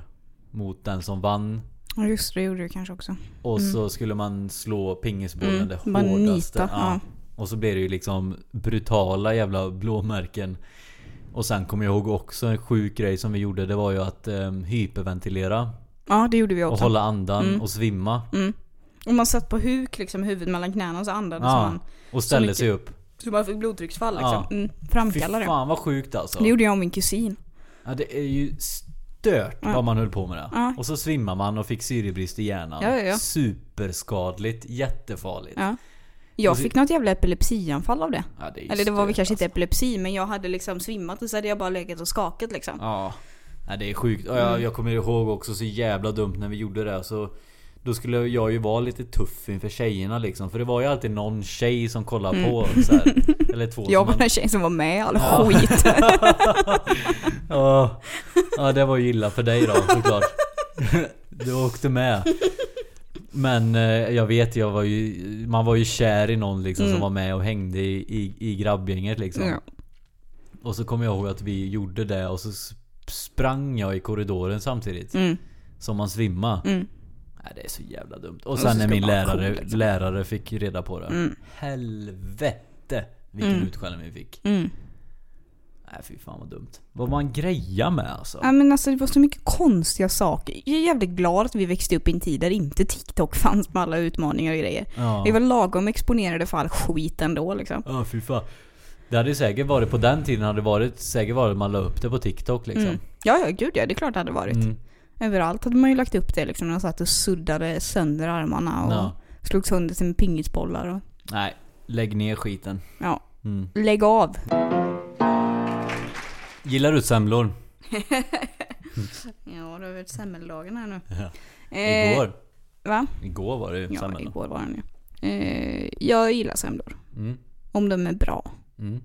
[SPEAKER 2] mot den som vann.
[SPEAKER 1] Ja, Just det, det gjorde du kanske också.
[SPEAKER 2] Och så skulle man slå pingisbollen
[SPEAKER 1] Mm,
[SPEAKER 2] det
[SPEAKER 1] man
[SPEAKER 2] hårdaste.
[SPEAKER 1] nita, ja.
[SPEAKER 2] Och så blev det ju liksom brutala jävla blåmärken. Och sen kommer jag ihåg också en sjuk grej som vi gjorde. Det var ju att eh, hyperventilera.
[SPEAKER 1] Ja, det gjorde vi
[SPEAKER 2] Och
[SPEAKER 1] också. Mm.
[SPEAKER 2] hålla andan och svimma.
[SPEAKER 1] Och man satt på huk liksom, huvudet mellan knäna och så andades
[SPEAKER 2] Ja,
[SPEAKER 1] man.
[SPEAKER 2] och ställde
[SPEAKER 1] mycket.
[SPEAKER 2] sig upp.
[SPEAKER 1] Så man fick blodtrycksfall liksom.
[SPEAKER 2] Ja.
[SPEAKER 1] Mm,
[SPEAKER 2] Fy
[SPEAKER 1] framkallade det.
[SPEAKER 2] fan vad sjukt alltså.
[SPEAKER 1] Det gjorde jag och min kusin.
[SPEAKER 2] Ja, det är ju stört vad man höll på med det.
[SPEAKER 1] Ja.
[SPEAKER 2] Och så svimmar man och fick syrebrist i hjärnan.
[SPEAKER 1] Ja, ja, ja.
[SPEAKER 2] Superskadligt, jättefarligt.
[SPEAKER 1] Ja. Jag
[SPEAKER 2] Och så-
[SPEAKER 1] fick något jävla epilepsianfall av det.
[SPEAKER 2] Ja, Alltså- det är ju
[SPEAKER 1] Eller det var väl
[SPEAKER 2] stört,
[SPEAKER 1] kanske inte
[SPEAKER 2] alltså.
[SPEAKER 1] epilepsi, men jag hade liksom svimmat och så hade jag bara legat och skakat liksom.
[SPEAKER 2] Ja. Nej, det är sjukt. Och
[SPEAKER 1] Mm.
[SPEAKER 2] jag, jag kommer ihåg också så jävla dumt när vi gjorde det. Så då skulle jag ju vara lite tuff inför tjejerna liksom. För det var ju alltid någon tjej som kollade på. Så här. Eller två
[SPEAKER 1] Mm. Jag var
[SPEAKER 2] som man-
[SPEAKER 1] den tjejen som var med i all skit.
[SPEAKER 2] Ja, ja det var ju illa för dig då såklart. Du åkte med. Men eh, jag vet, jag var ju, man var ju kär i någon liksom som var med och hängde i, i, i grabbgänget liksom.
[SPEAKER 1] Mm. Ja.
[SPEAKER 2] Och så kommer jag ihåg att vi gjorde det och så s- sprang jag i korridoren samtidigt.
[SPEAKER 1] Mm.
[SPEAKER 2] Som man svimmar.
[SPEAKER 1] Mm.
[SPEAKER 2] Nej, det är så jävla dumt. Och
[SPEAKER 1] så
[SPEAKER 2] sen när
[SPEAKER 1] ska
[SPEAKER 2] min
[SPEAKER 1] man vara
[SPEAKER 2] lärare,
[SPEAKER 1] cool, liksom.
[SPEAKER 2] lärare fick reda på det.
[SPEAKER 1] Mm.
[SPEAKER 2] Helvete vilken utskällning vi fick.
[SPEAKER 1] Mm.
[SPEAKER 2] Nej fy fan vad dumt. Vad man grejar med alltså.
[SPEAKER 1] Ja, men alltså det var så mycket konstiga saker. Jag är jävligt glad att vi växte upp i en tid där inte TikTok fanns med alla utmaningar och grejer.
[SPEAKER 2] Ja.
[SPEAKER 1] Vi var lagom exponerade för all skit ändå liksom.
[SPEAKER 2] Ja, fy fan. Det hade ju säkert varit, på den tiden hade det varit, säkert varit att man la upp det på TikTok liksom.
[SPEAKER 1] Mm. Ja, ja, gud ja, det är klart det hade varit.
[SPEAKER 2] Mm.
[SPEAKER 1] Överallt hade man ju lagt upp det liksom. när Man satt och suddade sönder armarna och
[SPEAKER 2] Ja.
[SPEAKER 1] slog sönder sina pingisbollar och
[SPEAKER 2] Nej, lägg ner skiten.
[SPEAKER 1] ja,
[SPEAKER 2] Mm.
[SPEAKER 1] lägg av.
[SPEAKER 2] Gillar du semlor?
[SPEAKER 1] Ja, det har varit semmeldagen här nu.
[SPEAKER 2] Ja.
[SPEAKER 1] Eh,
[SPEAKER 2] Igår.
[SPEAKER 1] Va?
[SPEAKER 2] Igår var det ju
[SPEAKER 1] Ja,
[SPEAKER 2] semlorna.
[SPEAKER 1] igår var den ju. Eh, jag gillar semlor.
[SPEAKER 2] Mm.
[SPEAKER 1] Om de är bra.
[SPEAKER 2] Mm.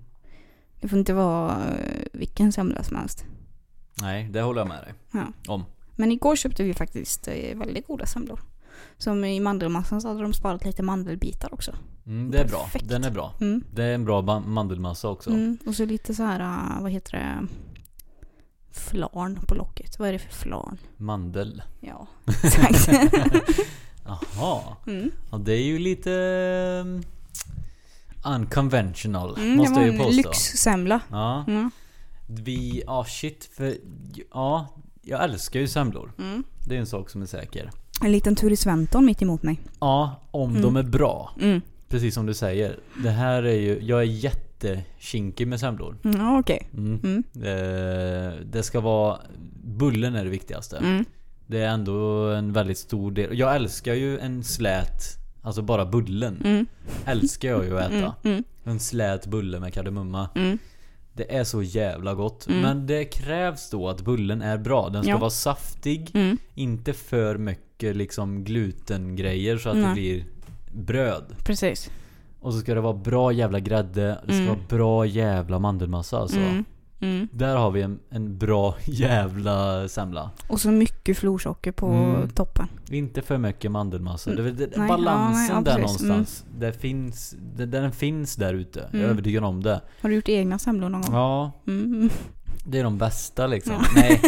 [SPEAKER 1] Det får inte vara eh, vilken semla som helst.
[SPEAKER 2] Nej, det håller jag med dig
[SPEAKER 1] Ja.
[SPEAKER 2] om.
[SPEAKER 1] Men igår köpte vi faktiskt eh, väldigt goda semlor. Som i mandelmassan så hade de sparat lite mandelbitar också.
[SPEAKER 2] Mm, det är bra.
[SPEAKER 1] Perfekt.
[SPEAKER 2] Den är bra.
[SPEAKER 1] Mm.
[SPEAKER 2] Det är en bra ba- mandelmassa också.
[SPEAKER 1] Mm. Och så lite så här, eh, vad heter det? Flarn på locket. Vad är det för flarn?
[SPEAKER 2] Mandel.
[SPEAKER 1] Ja, exakt.
[SPEAKER 2] Jaha.
[SPEAKER 1] Mm.
[SPEAKER 2] Ja, det är ju lite... ehm, Unconventional,
[SPEAKER 1] Mm, det
[SPEAKER 2] måste
[SPEAKER 1] var
[SPEAKER 2] jag ju
[SPEAKER 1] en
[SPEAKER 2] påstå.
[SPEAKER 1] lyxsemla.
[SPEAKER 2] Ja.
[SPEAKER 1] Mm.
[SPEAKER 2] Vi, ja shit, för ja, jag älskar ju semlor.
[SPEAKER 1] Mm.
[SPEAKER 2] Det är en sak som är säker.
[SPEAKER 1] En liten tur i Sventon mitt emot mig.
[SPEAKER 2] Ja, om de är bra.
[SPEAKER 1] Mm.
[SPEAKER 2] Precis som du säger. Det här är ju, jag är jättekinkig med semlor.
[SPEAKER 1] Mm, Ja, okej.
[SPEAKER 2] Mm.
[SPEAKER 1] Mm.
[SPEAKER 2] Eh, det ska vara, bullen är det viktigaste.
[SPEAKER 1] Mm.
[SPEAKER 2] Det är ändå en väldigt stor del. Jag älskar ju en slät, alltså bara bullen.
[SPEAKER 1] Mm.
[SPEAKER 2] Älskar jag ju att äta.
[SPEAKER 1] Mm.
[SPEAKER 2] En slät bulle med kardemumma.
[SPEAKER 1] Mm.
[SPEAKER 2] Det är så jävla gott.
[SPEAKER 1] Mm.
[SPEAKER 2] Men det krävs då att bullen är bra. Den ska
[SPEAKER 1] Ja.
[SPEAKER 2] vara saftig.
[SPEAKER 1] Mm.
[SPEAKER 2] Inte för mycket liksom glutengrejer så att det
[SPEAKER 1] Nej.
[SPEAKER 2] blir bröd.
[SPEAKER 1] Precis.
[SPEAKER 2] Och så ska det vara bra jävla grädde. Det ska
[SPEAKER 1] Mm.
[SPEAKER 2] vara bra jävla mandelmassa alltså.
[SPEAKER 1] Mm. Mm.
[SPEAKER 2] Där har vi en, en bra jävla semla.
[SPEAKER 1] Och så mycket florsocker på
[SPEAKER 2] Mm.
[SPEAKER 1] toppen.
[SPEAKER 2] Inte för mycket mandelmassa. Det, är väl det,
[SPEAKER 1] Nej,
[SPEAKER 2] balansen
[SPEAKER 1] ja, nej, ja,
[SPEAKER 2] där
[SPEAKER 1] precis. Mm.
[SPEAKER 2] någonstans. Det finns, det, den finns där ute. Jag är
[SPEAKER 1] Mm.
[SPEAKER 2] övertygad om det.
[SPEAKER 1] Har du gjort egna semlor någon gång?
[SPEAKER 2] Ja,
[SPEAKER 1] Mm.
[SPEAKER 2] det är de bästa liksom. Nej.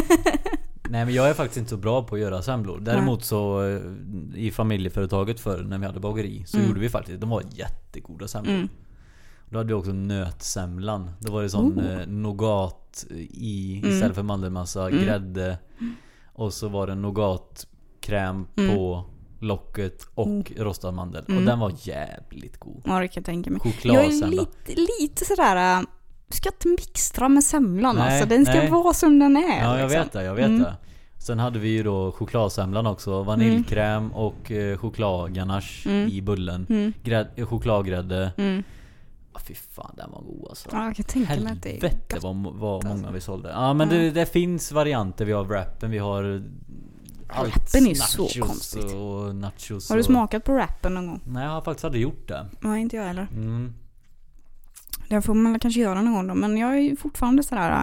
[SPEAKER 2] Nej men jag är faktiskt inte så bra på att göra semlor. Däremot så eh, i familjeföretaget förr när vi hade bageri så
[SPEAKER 1] Mm.
[SPEAKER 2] gjorde vi faktiskt, de var jättegoda semlor.
[SPEAKER 1] Mm.
[SPEAKER 2] Då hade vi också nötsemlan. Då var det sån
[SPEAKER 1] Oh.
[SPEAKER 2] eh, nougat i
[SPEAKER 1] Mm.
[SPEAKER 2] istället för mandelmassa,
[SPEAKER 1] Mm.
[SPEAKER 2] grädde. Och så var det nougatkräm
[SPEAKER 1] Mm.
[SPEAKER 2] på locket och rostad mandel. Och
[SPEAKER 1] Mm.
[SPEAKER 2] den var jävligt god.
[SPEAKER 1] Ja, det kan jag tänka mig. Jag är
[SPEAKER 2] Chokladsemla.
[SPEAKER 1] lite, lite sådär... äh, Du ska inte mixtra med semlan
[SPEAKER 2] Nej,
[SPEAKER 1] alltså. Den ska
[SPEAKER 2] nej.
[SPEAKER 1] vara som den är.
[SPEAKER 2] Ja jag
[SPEAKER 1] liksom.
[SPEAKER 2] vet det, jag vet
[SPEAKER 1] Mm.
[SPEAKER 2] det. Sen hade vi ju då chokladsemlan också. Vaniljkräm och eh, chokladganache
[SPEAKER 1] Mm.
[SPEAKER 2] i bullen.
[SPEAKER 1] Mm.
[SPEAKER 2] Gräd, eh, chokladgrädde.
[SPEAKER 1] Mm.
[SPEAKER 2] Ah, fy fan den var god alltså.
[SPEAKER 1] Ja, jag kan tänka mig att det är
[SPEAKER 2] Helvete
[SPEAKER 1] gott. alltså.
[SPEAKER 2] vad, må- vad många vi sålde. Ja men det, det finns varianter. Vi har wrappen, vi har allt.
[SPEAKER 1] Wrappen är ju så
[SPEAKER 2] nachos
[SPEAKER 1] konstigt.
[SPEAKER 2] och nachos
[SPEAKER 1] Har du
[SPEAKER 2] och-
[SPEAKER 1] smakat på rappen någon gång?
[SPEAKER 2] Nej jag har faktiskt aldrig gjort det.
[SPEAKER 1] Nej, inte jag heller.
[SPEAKER 2] Mm.
[SPEAKER 1] Det får man kanske göra någon gång då. Men jag är ju fortfarande sådär... äh,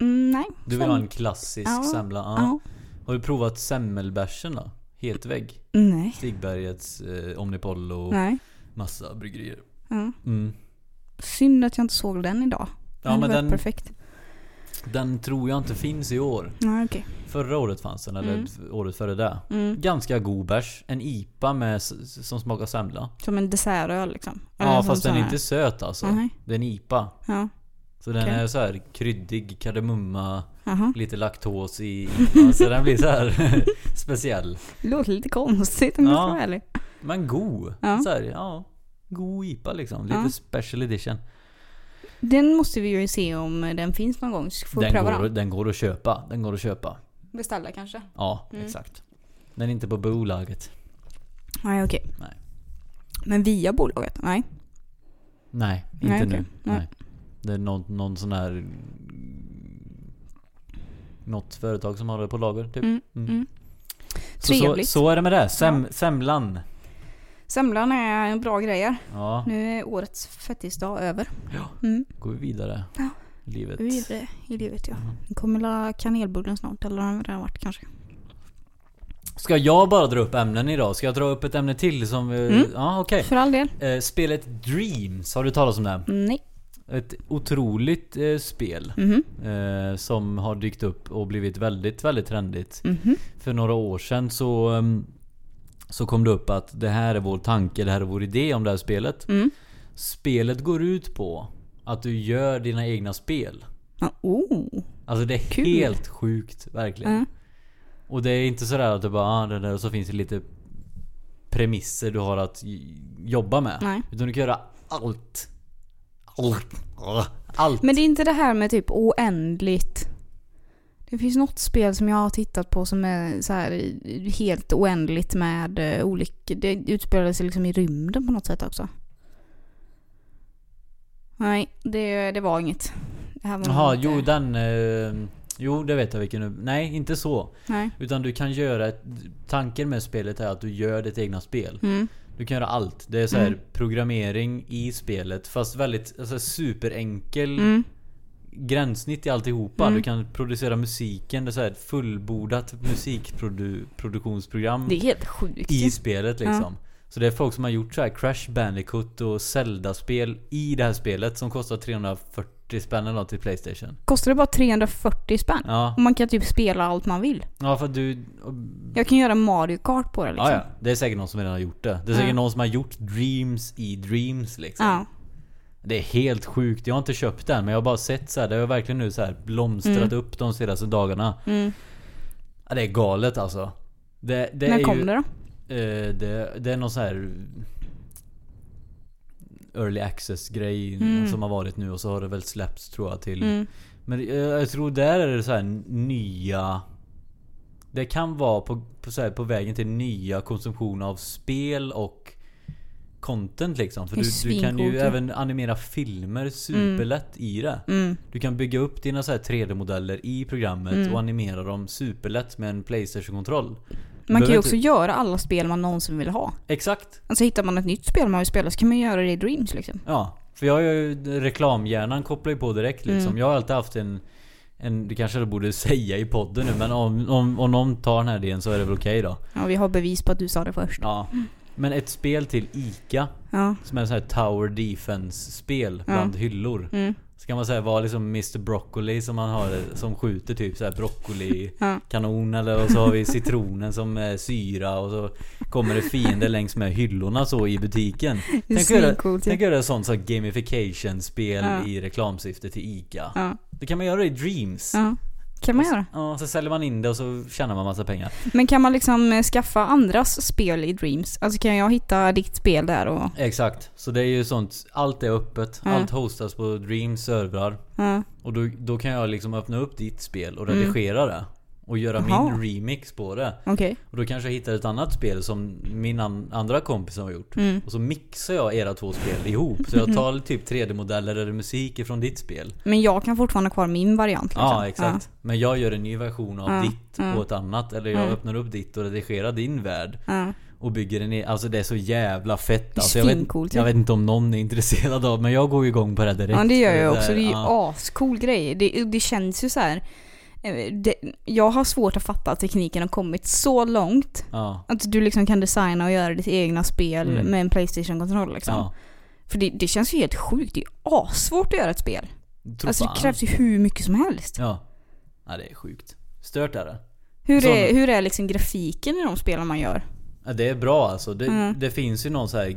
[SPEAKER 1] Mm, nej.
[SPEAKER 2] Du vill
[SPEAKER 1] Sem-
[SPEAKER 2] ha en klassisk
[SPEAKER 1] Ja,
[SPEAKER 2] semla? Ja.
[SPEAKER 1] Ja.
[SPEAKER 2] Har du provat semmelbärsen då? Hetvägg?
[SPEAKER 1] Nej.
[SPEAKER 2] Stigbergets, eh, Omnipollo,
[SPEAKER 1] Nej.
[SPEAKER 2] massa bryggerier.
[SPEAKER 1] Ja.
[SPEAKER 2] Mm.
[SPEAKER 1] Synd att jag inte såg den idag.
[SPEAKER 2] Ja men
[SPEAKER 1] den...
[SPEAKER 2] den,
[SPEAKER 1] perfekt.
[SPEAKER 2] den tror jag inte finns i år.
[SPEAKER 1] Ja, okej.
[SPEAKER 2] Förra året fanns den, eller
[SPEAKER 1] Mm.
[SPEAKER 2] f- året före det.
[SPEAKER 1] Mm.
[SPEAKER 2] Ganska god bärs. En IPA med, s- som smakar semla.
[SPEAKER 1] Som en dessertöl liksom.
[SPEAKER 2] Ja fast den är inte söt alltså.
[SPEAKER 1] Nej.
[SPEAKER 2] Det är en IPA.
[SPEAKER 1] Ja.
[SPEAKER 2] Så den
[SPEAKER 1] Okej.
[SPEAKER 2] är så här kryddig, kardemumma,
[SPEAKER 1] Aha.
[SPEAKER 2] lite laktos i IPA. Så den blir så här speciell.
[SPEAKER 1] Låter lite konstigt om jag
[SPEAKER 2] Ja.
[SPEAKER 1] ska vara ärlig.
[SPEAKER 2] Men god.
[SPEAKER 1] Ja.
[SPEAKER 2] Så här, ja. God IPA liksom. Lite
[SPEAKER 1] Ja.
[SPEAKER 2] special edition.
[SPEAKER 1] Den måste vi ju se om den finns någon gång. Så får vi
[SPEAKER 2] Den
[SPEAKER 1] pröva
[SPEAKER 2] går,
[SPEAKER 1] den.
[SPEAKER 2] den går att köpa. Den går att köpa.
[SPEAKER 1] Beställa kanske.
[SPEAKER 2] Ja,
[SPEAKER 1] Mm.
[SPEAKER 2] exakt. Den är inte på bolaget.
[SPEAKER 1] Nej okej.
[SPEAKER 2] Nej.
[SPEAKER 1] Men via bolaget? Nej.
[SPEAKER 2] Nej, inte
[SPEAKER 1] Nej,
[SPEAKER 2] nu.
[SPEAKER 1] okej.
[SPEAKER 2] Nej.
[SPEAKER 1] Nej.
[SPEAKER 2] Det är någon, någon sån här... Något företag som har det på lager, typ.
[SPEAKER 1] Mm,
[SPEAKER 2] Mm.
[SPEAKER 1] mm.
[SPEAKER 2] Så, så,
[SPEAKER 1] Trevligt.
[SPEAKER 2] så är det med det. Sem, Semlan.
[SPEAKER 1] Semlan är bra grejer.
[SPEAKER 2] Ja,
[SPEAKER 1] Nu är årets fettisdag över.
[SPEAKER 2] Ja.
[SPEAKER 1] Mm.
[SPEAKER 2] går vi vidare.
[SPEAKER 1] Ja.
[SPEAKER 2] Livet.
[SPEAKER 1] Vi är det i livet ja.
[SPEAKER 2] Mm.
[SPEAKER 1] Nu kommer la kanelbullen snart, eller har den redan varit kanske.
[SPEAKER 2] Ska jag bara dra upp ämnen idag? Ska jag dra upp ett ämne till som... eh,
[SPEAKER 1] Mm.
[SPEAKER 2] Ja, okej.
[SPEAKER 1] För all del.
[SPEAKER 2] Eh, spelet Dreams, har du talat om det?
[SPEAKER 1] Nej.
[SPEAKER 2] Ett otroligt eh, spel.
[SPEAKER 1] Mhm.
[SPEAKER 2] Eh, som har dykt upp och blivit väldigt, väldigt trendigt.
[SPEAKER 1] Mhm.
[SPEAKER 2] För några år sedan så, ehm, så kom det upp att det här är vår tanke, det här är vår idé om det här spelet.
[SPEAKER 1] Mm.
[SPEAKER 2] Spelet går ut på att du gör dina egna spel.
[SPEAKER 1] Ja, oh.
[SPEAKER 2] Alltså det är
[SPEAKER 1] Kul.
[SPEAKER 2] helt sjukt verkligen.
[SPEAKER 1] Mm.
[SPEAKER 2] Och det är inte sådär att du bara ah, det där, och så finns det lite premisser du har att j- jobba med.
[SPEAKER 1] Nej.
[SPEAKER 2] Utan du kan göra allt. Allt. Allt.
[SPEAKER 1] Men det är inte det här med typ oändligt. Det finns något spel som jag har tittat på som är så här helt oändligt med eh, olika... Det utspelar sig liksom i rymden på något sätt också. Nej, det, det var inget. Det här var
[SPEAKER 2] Jaha,
[SPEAKER 1] inte-
[SPEAKER 2] jo den... Eh, jo, det vet jag vilken du... Nej, inte så.
[SPEAKER 1] Nej.
[SPEAKER 2] Utan du kan göra... Ett, tanken med spelet är att du gör ditt egna spel.
[SPEAKER 1] Mm.
[SPEAKER 2] Du kan göra allt. Det är så här
[SPEAKER 1] Mm.
[SPEAKER 2] programmering i spelet. Fast väldigt alltså, superenkel
[SPEAKER 1] Mm.
[SPEAKER 2] gränssnitt i alltihopa.
[SPEAKER 1] Mm.
[SPEAKER 2] Du kan producera musiken. Det är så här ett fullbordat musikproduktionsprogram
[SPEAKER 1] Det är helt sjukt.
[SPEAKER 2] i spelet liksom. Så det är folk som har gjort så här Crash Bandicoot och Zelda-spel i det här spelet som kostar 340 spänn eller något till Playstation.
[SPEAKER 1] Kostar det bara 340 spänn?
[SPEAKER 2] Ja,
[SPEAKER 1] Och man kan typ spela allt man vill.
[SPEAKER 2] ja för att du...
[SPEAKER 1] Jag kan göra Mario Kart på det liksom.
[SPEAKER 2] Ja, ja. Det är säkert någon som redan har gjort det. Det är säkert
[SPEAKER 1] Ja.
[SPEAKER 2] någon som har gjort Dreams i Dreams liksom.
[SPEAKER 1] Ja.
[SPEAKER 2] Det är helt sjukt. Jag har inte köpt den men jag har bara sett så här. Det har verkligen nu så här blomstrat
[SPEAKER 1] Mm.
[SPEAKER 2] upp de senaste dagarna.
[SPEAKER 1] Mm.
[SPEAKER 2] Ja, det är galet alltså. Det, det är
[SPEAKER 1] När kom
[SPEAKER 2] ju,
[SPEAKER 1] det då?
[SPEAKER 2] Eh, det, det är någon så här Early access grej
[SPEAKER 1] Mm.
[SPEAKER 2] som har varit nu och så har det väl släppts tror jag till
[SPEAKER 1] Mm.
[SPEAKER 2] Men eh, jag tror där är det så här nya Det kan vara på, på, så här, på vägen till nya konsumtion av spel och content liksom. För
[SPEAKER 1] Det är
[SPEAKER 2] du, du kan ju
[SPEAKER 1] svincoolt, ja.
[SPEAKER 2] även animera filmer superlätt i det.
[SPEAKER 1] Mm.
[SPEAKER 2] Du kan bygga upp dina så här 3D-modeller i programmet
[SPEAKER 1] Mm.
[SPEAKER 2] och animera dem superlätt med en Playstation-kontroll. Du
[SPEAKER 1] Man kan
[SPEAKER 2] behöver
[SPEAKER 1] ju
[SPEAKER 2] inte-
[SPEAKER 1] också göra alla spel man någonsin vill ha.
[SPEAKER 2] Exakt!
[SPEAKER 1] Alltså hittar man ett nytt spel man vill spela så kan man göra det i Dreams liksom.
[SPEAKER 2] Ja. För jag har ju, reklamhjärnan kopplar ju på direkt liksom.
[SPEAKER 1] Mm.
[SPEAKER 2] Jag har alltid haft en, en... Det kanske jag borde säga i podden nu men om, om, om någon tar den här idén så är det väl okej då.
[SPEAKER 1] Ja, vi har bevis på att du sa det först.
[SPEAKER 2] Ja. Men ett spel till ICA.
[SPEAKER 1] Ja.
[SPEAKER 2] Som är ett sånt här Tower Defense-spel bland hyllor.
[SPEAKER 1] Mm.
[SPEAKER 2] Så kan man säga vara liksom Mr Broccoli som man har det, som skjuter typ så här broccoli
[SPEAKER 1] Ja.
[SPEAKER 2] kanon eller och så har vi citronen som är syra och så kommer det fiender längs med hyllorna så i butiken.
[SPEAKER 1] Det är
[SPEAKER 2] Tänk att göra,
[SPEAKER 1] svincoolt.
[SPEAKER 2] tänk att göra sånt som gamification-spel
[SPEAKER 1] Typ. Ja.
[SPEAKER 2] i reklamsyfte till ICA.
[SPEAKER 1] Ja.
[SPEAKER 2] Det kan man göra i Dreams.
[SPEAKER 1] ja. Kan man göra.
[SPEAKER 2] Ja, så säljer man in det och så tjänar man massa pengar.
[SPEAKER 1] Men kan man liksom eh, skaffa andras spel i Dreams? Alltså kan jag hitta ditt spel där och...
[SPEAKER 2] Exakt. Så det är ju sånt, allt är öppet.
[SPEAKER 1] Ja.
[SPEAKER 2] Allt hostas på Dreams servrar.
[SPEAKER 1] Ja.
[SPEAKER 2] Och då, då kan jag liksom öppna upp ditt spel och redigera det. Och göra
[SPEAKER 1] Mm. Jaha.
[SPEAKER 2] min remix på det.
[SPEAKER 1] Okej.
[SPEAKER 2] Och då kanske jag hittar ett annat spel som min an- andra kompis har gjort.
[SPEAKER 1] Mm.
[SPEAKER 2] Och så mixar jag era två spel ihop. Så jag tar typ 3D-modeller eller musik ifrån ditt spel.
[SPEAKER 1] Men jag kan fortfarande ha kvar min variant liksom.
[SPEAKER 2] Ja, exakt. Men jag gör en ny version av
[SPEAKER 1] Ja,
[SPEAKER 2] ditt
[SPEAKER 1] ja.
[SPEAKER 2] och ett annat. Eller jag öppnar upp ditt och redigerar din värld.
[SPEAKER 1] Ja. Ja.
[SPEAKER 2] Och bygger den i, Alltså det är så jävla fett.
[SPEAKER 1] Det är
[SPEAKER 2] Alltså, jag, vet,
[SPEAKER 1] svincoolt, ja.
[SPEAKER 2] jag vet inte om någon är intresserad av men jag går ju igång på det direkt.
[SPEAKER 1] Ja, det gör
[SPEAKER 2] För
[SPEAKER 1] jag
[SPEAKER 2] där-
[SPEAKER 1] också. Det är ju
[SPEAKER 2] ja.
[SPEAKER 1] ascool grej. Det, det känns ju så här. eh, Det, jag har svårt att fatta att tekniken har kommit så långt.
[SPEAKER 2] Ja.
[SPEAKER 1] Att du liksom kan designa och göra ditt egna spel
[SPEAKER 2] Mm.
[SPEAKER 1] med en Playstation-kontroll liksom.
[SPEAKER 2] ja.
[SPEAKER 1] För det, det känns ju helt sjukt. Det är ju assvårt att göra ett spel.
[SPEAKER 2] Tro
[SPEAKER 1] alltså det
[SPEAKER 2] fan.
[SPEAKER 1] krävs ju hur mycket som helst.
[SPEAKER 2] Ja. Ja, det är sjukt. Stört är det.
[SPEAKER 1] Hur,
[SPEAKER 2] Sån-
[SPEAKER 1] är, hur är liksom grafiken i de spelen man gör?
[SPEAKER 2] Ja, det är bra alltså. Det,
[SPEAKER 1] Mm.
[SPEAKER 2] det finns ju någon så här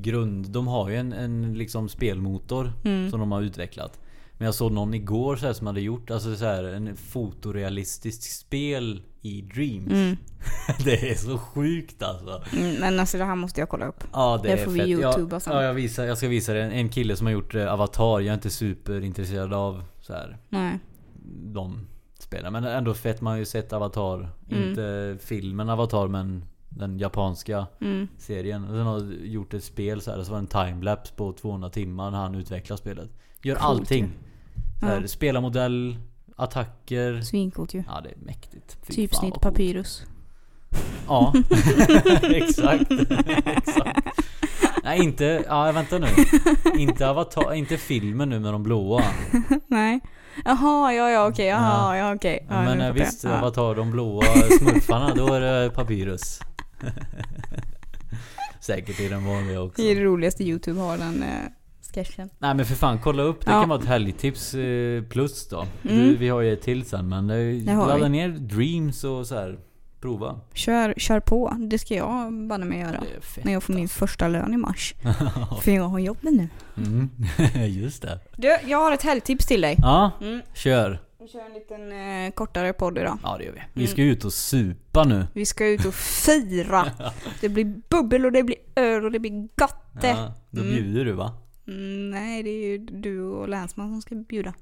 [SPEAKER 2] grund... De har ju en, en liksom spelmotor
[SPEAKER 1] Mm.
[SPEAKER 2] som de har utvecklat. Men jag såg någon igår så här som hade gjort alltså så här, en fotorealistisk spel i Dreams.
[SPEAKER 1] Mm.
[SPEAKER 2] Det är så sjukt alltså.
[SPEAKER 1] Mm, men alltså det här måste jag kolla upp.
[SPEAKER 2] Ja, det
[SPEAKER 1] Det
[SPEAKER 2] är
[SPEAKER 1] får vi
[SPEAKER 2] fett.
[SPEAKER 1] youtuba
[SPEAKER 2] Jag,
[SPEAKER 1] sen.
[SPEAKER 2] ja, jag, visar, jag ska visa dig en, en kille som har gjort eh, Avatar. Jag är inte superintresserad av så här,
[SPEAKER 1] Nej.
[SPEAKER 2] de spelarna. Men ändå fett, man har ju sett Avatar.
[SPEAKER 1] Mm.
[SPEAKER 2] Inte filmen Avatar men den japanska
[SPEAKER 1] Mm.
[SPEAKER 2] serien. Och sen har jag gjort ett spel så här. och Så var det en timelapse på 200 timmar när han utvecklar spelet. Gör
[SPEAKER 1] Coolt
[SPEAKER 2] allting. Så här,
[SPEAKER 1] Ja.
[SPEAKER 2] Spelarmodell, attacker.
[SPEAKER 1] Svincoolt ju.
[SPEAKER 2] Ja det är mäktigt. Fy fan
[SPEAKER 1] Typsnitt
[SPEAKER 2] vad coolt.
[SPEAKER 1] Papyrus.
[SPEAKER 2] Ja. Exakt. Exakt. Nej inte, ja vänta nu. Inte Avatar, inte filmen nu med de blåa.
[SPEAKER 1] Nej. Jaha, ja ja okej. Jaha, ja okej. Ja,
[SPEAKER 2] Men
[SPEAKER 1] nu
[SPEAKER 2] eh,
[SPEAKER 1] fattar jag.
[SPEAKER 2] visst,
[SPEAKER 1] Ja.
[SPEAKER 2] Avatar de blåa smurfarna, då är det Papyrus. Säkert i den vanliga också.
[SPEAKER 1] Det är det roligaste YouTube har den eh, sketchen.
[SPEAKER 2] Nej men för fan, kolla upp. Det
[SPEAKER 1] Ja.
[SPEAKER 2] kan vara ett helgtips eh, plus då. Du,
[SPEAKER 1] Mm.
[SPEAKER 2] vi har ju ett till sen men det,
[SPEAKER 1] Det har
[SPEAKER 2] ladda
[SPEAKER 1] vi.
[SPEAKER 2] ner Dreams och så här. Prova.
[SPEAKER 1] Kör, kör på. Det ska jag banne mig göra.
[SPEAKER 2] Det är fett.
[SPEAKER 1] När jag får min första lön i mars. För jag har jobbet nu.
[SPEAKER 2] Mm. Just det.
[SPEAKER 1] Du, jag har ett helgtips till dig.
[SPEAKER 2] Ja,
[SPEAKER 1] Mm.
[SPEAKER 2] kör.
[SPEAKER 1] Vi kör en liten eh, kortare podd idag.
[SPEAKER 2] Ja det gör vi. Vi
[SPEAKER 1] Mm.
[SPEAKER 2] ska ju ut och supa nu.
[SPEAKER 1] Vi ska ut och fira. Det blir bubbel och det blir öl och det blir gatte.
[SPEAKER 2] Ja, då
[SPEAKER 1] Mm.
[SPEAKER 2] bjuder du va?
[SPEAKER 1] Mm, nej, det är ju du och länsman som ska bjuda.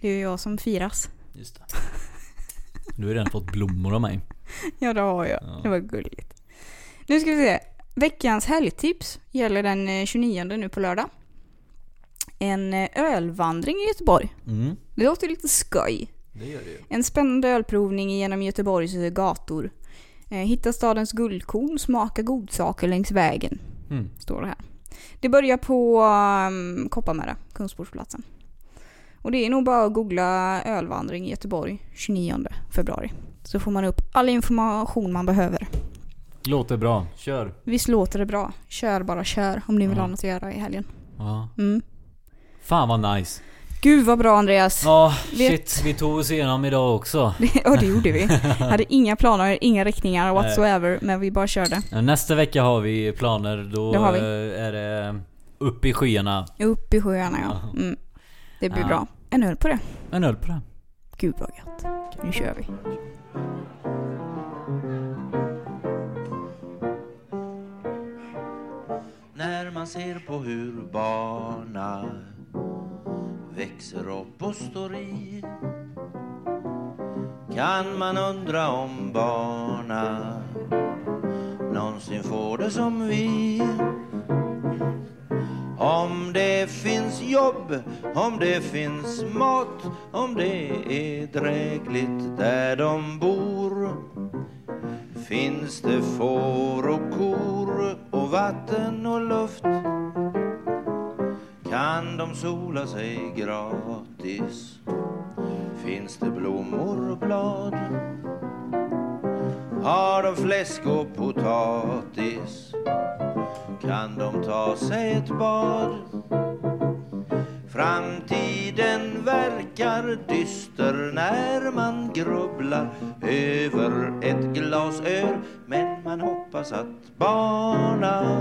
[SPEAKER 1] Det är ju jag som firas.
[SPEAKER 2] Just det. Du har ju redan fått blommor av mig.
[SPEAKER 1] Ja, det har jag.
[SPEAKER 2] Ja.
[SPEAKER 1] Det var gulligt. Nu ska vi se. Veckans helgtips gäller den eh, 29 nu på lördag. En eh, ölvandring i Göteborg.
[SPEAKER 2] Mm.
[SPEAKER 1] Det låter lite skoj.
[SPEAKER 2] Det gör du ju.
[SPEAKER 1] En spännande ölprovning genom Göteborgs eh, gator. Eh, Hitta stadens guldkorn, smaka godsaker längs vägen.
[SPEAKER 2] Mm.
[SPEAKER 1] Står det här. Det börjar på um, Kopparmära, Kungsportsplatsen. Och det är nog bara att googla ölvandring i Göteborg 29 februari. Så får man upp all information man behöver.
[SPEAKER 2] Låter bra. Kör.
[SPEAKER 1] Visst låter det bra? Kör bara kör om ni vill
[SPEAKER 2] Ja.
[SPEAKER 1] ha något att göra i helgen.
[SPEAKER 2] Ja.
[SPEAKER 1] Mm.
[SPEAKER 2] Fan vad nice.
[SPEAKER 1] Gud vad bra Andreas!
[SPEAKER 2] Ja,
[SPEAKER 1] Vet-
[SPEAKER 2] shit. Vi tog oss igenom idag också.
[SPEAKER 1] Ja det gjorde vi. Hade inga planer, inga riktningar whatsoever, men vi bara körde.
[SPEAKER 2] Nästa vecka har vi planer. Då
[SPEAKER 1] Det har vi.
[SPEAKER 2] eh, är det upp i skyarna.
[SPEAKER 1] Upp i sjöarna ja. Mm. Det blir
[SPEAKER 2] Ja.
[SPEAKER 1] bra. En öl på det.
[SPEAKER 2] En öl på det.
[SPEAKER 1] Gud vad gött. Nu kör vi.
[SPEAKER 3] när man ser på hur barna växer upp och står i kan man undra om barna någonsin får det som vi jobb, om det finns mat, om det är drägligt där de bor. Finns det får och kor och vatten och luft kan de sola sig gratis. Finns det blommor och blad har de fläsk och potatis kan de ta sig ett bad. Framtiden verkar dyster när man grubblar över ett glas öl men man hoppas att barna